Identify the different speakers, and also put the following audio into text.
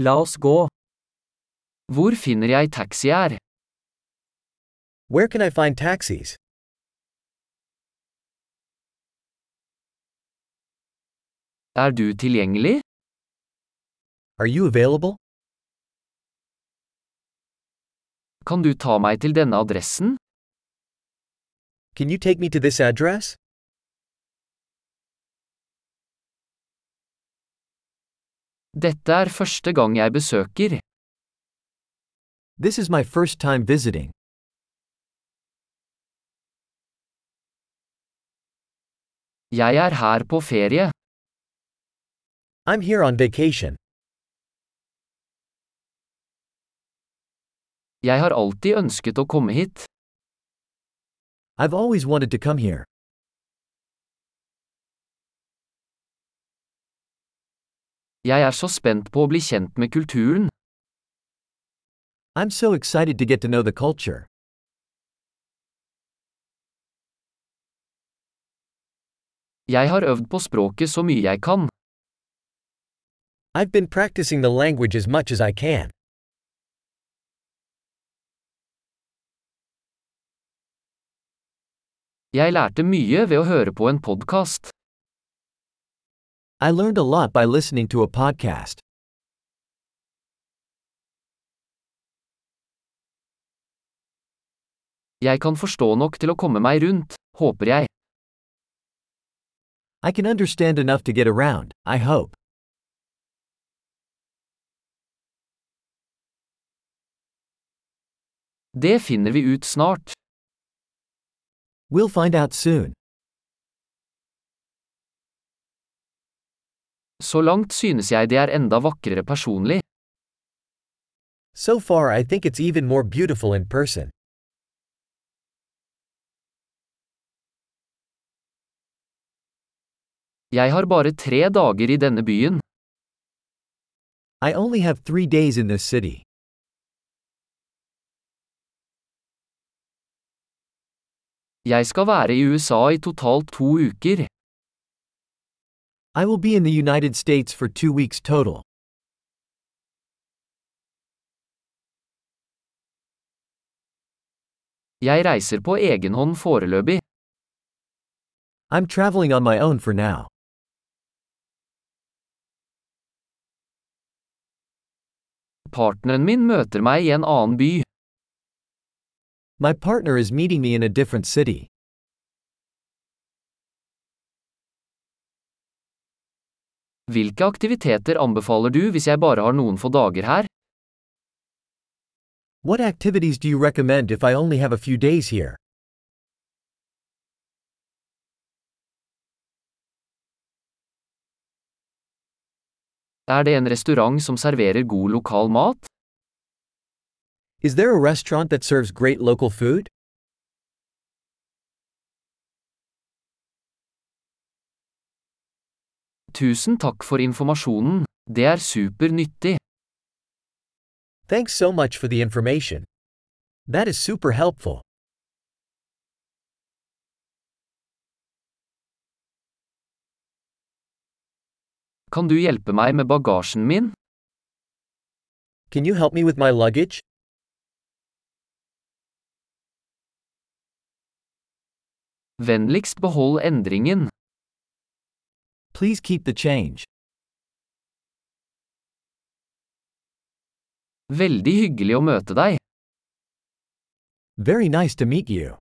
Speaker 1: La oss gå. Hvor finner jeg taxi her?
Speaker 2: Where can I find taxis?
Speaker 1: Er du tilgjengelig?
Speaker 2: Are you available?
Speaker 1: Kan du ta meg til denne adressen?
Speaker 2: Can you take me to this address?
Speaker 1: Dette er første gang jeg besøker.
Speaker 2: This is my first time visiting.
Speaker 1: Jeg er her på ferie.
Speaker 2: I'm here on vacation.
Speaker 1: Jeg har alltid ønsket å komme hit.
Speaker 2: I've always wanted to come here.
Speaker 1: Jeg er så spent på å bli kjent med kulturen.
Speaker 2: I'm so excited to get to know the culture.
Speaker 1: Jeg har øvd på språket så mye jeg kan.
Speaker 2: I've been practicing the language as much as I can.
Speaker 1: Jeg lærte mye ved å høre på en podkast.
Speaker 2: I learned a lot by listening to a podcast.
Speaker 1: Jeg kan forstå nok til å komme meg rundt, håper jeg.
Speaker 2: I can understand enough to get around, I hope.
Speaker 1: Det finner vi ut snart.
Speaker 2: We'll find out soon.
Speaker 1: Så langt synes jeg det er enda vakrere personlig.
Speaker 2: So far, I think it's even more beautiful in person.
Speaker 1: Jeg har bare tre dager i denne byen.
Speaker 2: I only have three days in this city.
Speaker 1: Jeg skal være i USA i totalt to uker.
Speaker 2: I will be in the United States for two weeks total.
Speaker 1: Jeg reiser på egen hånd foreløpig.
Speaker 2: I'm traveling on my own for now.
Speaker 1: Partneren min møter meg i en annen by.
Speaker 2: My partner is meeting me in a different city.
Speaker 1: Hvilke aktiviteter anbefaler du hvis jeg bare har noen få dager her?
Speaker 2: What activities do you recommend if I only have a few days here?
Speaker 1: Er det en restaurant som serverer god lokal mat?
Speaker 2: Is there a restaurant that serves great local food?
Speaker 1: Tusen takk for informasjonen, det er supernyttig.
Speaker 2: Thanks so much for the information. That is super helpful.
Speaker 1: Kan du hjelpe meg med bagasjen min?
Speaker 2: Can you help me with my luggage?
Speaker 1: Vennligst behold endringen.
Speaker 2: Please keep the change.
Speaker 1: Veldig hyggelig å møte deg.
Speaker 2: Very nice to meet you.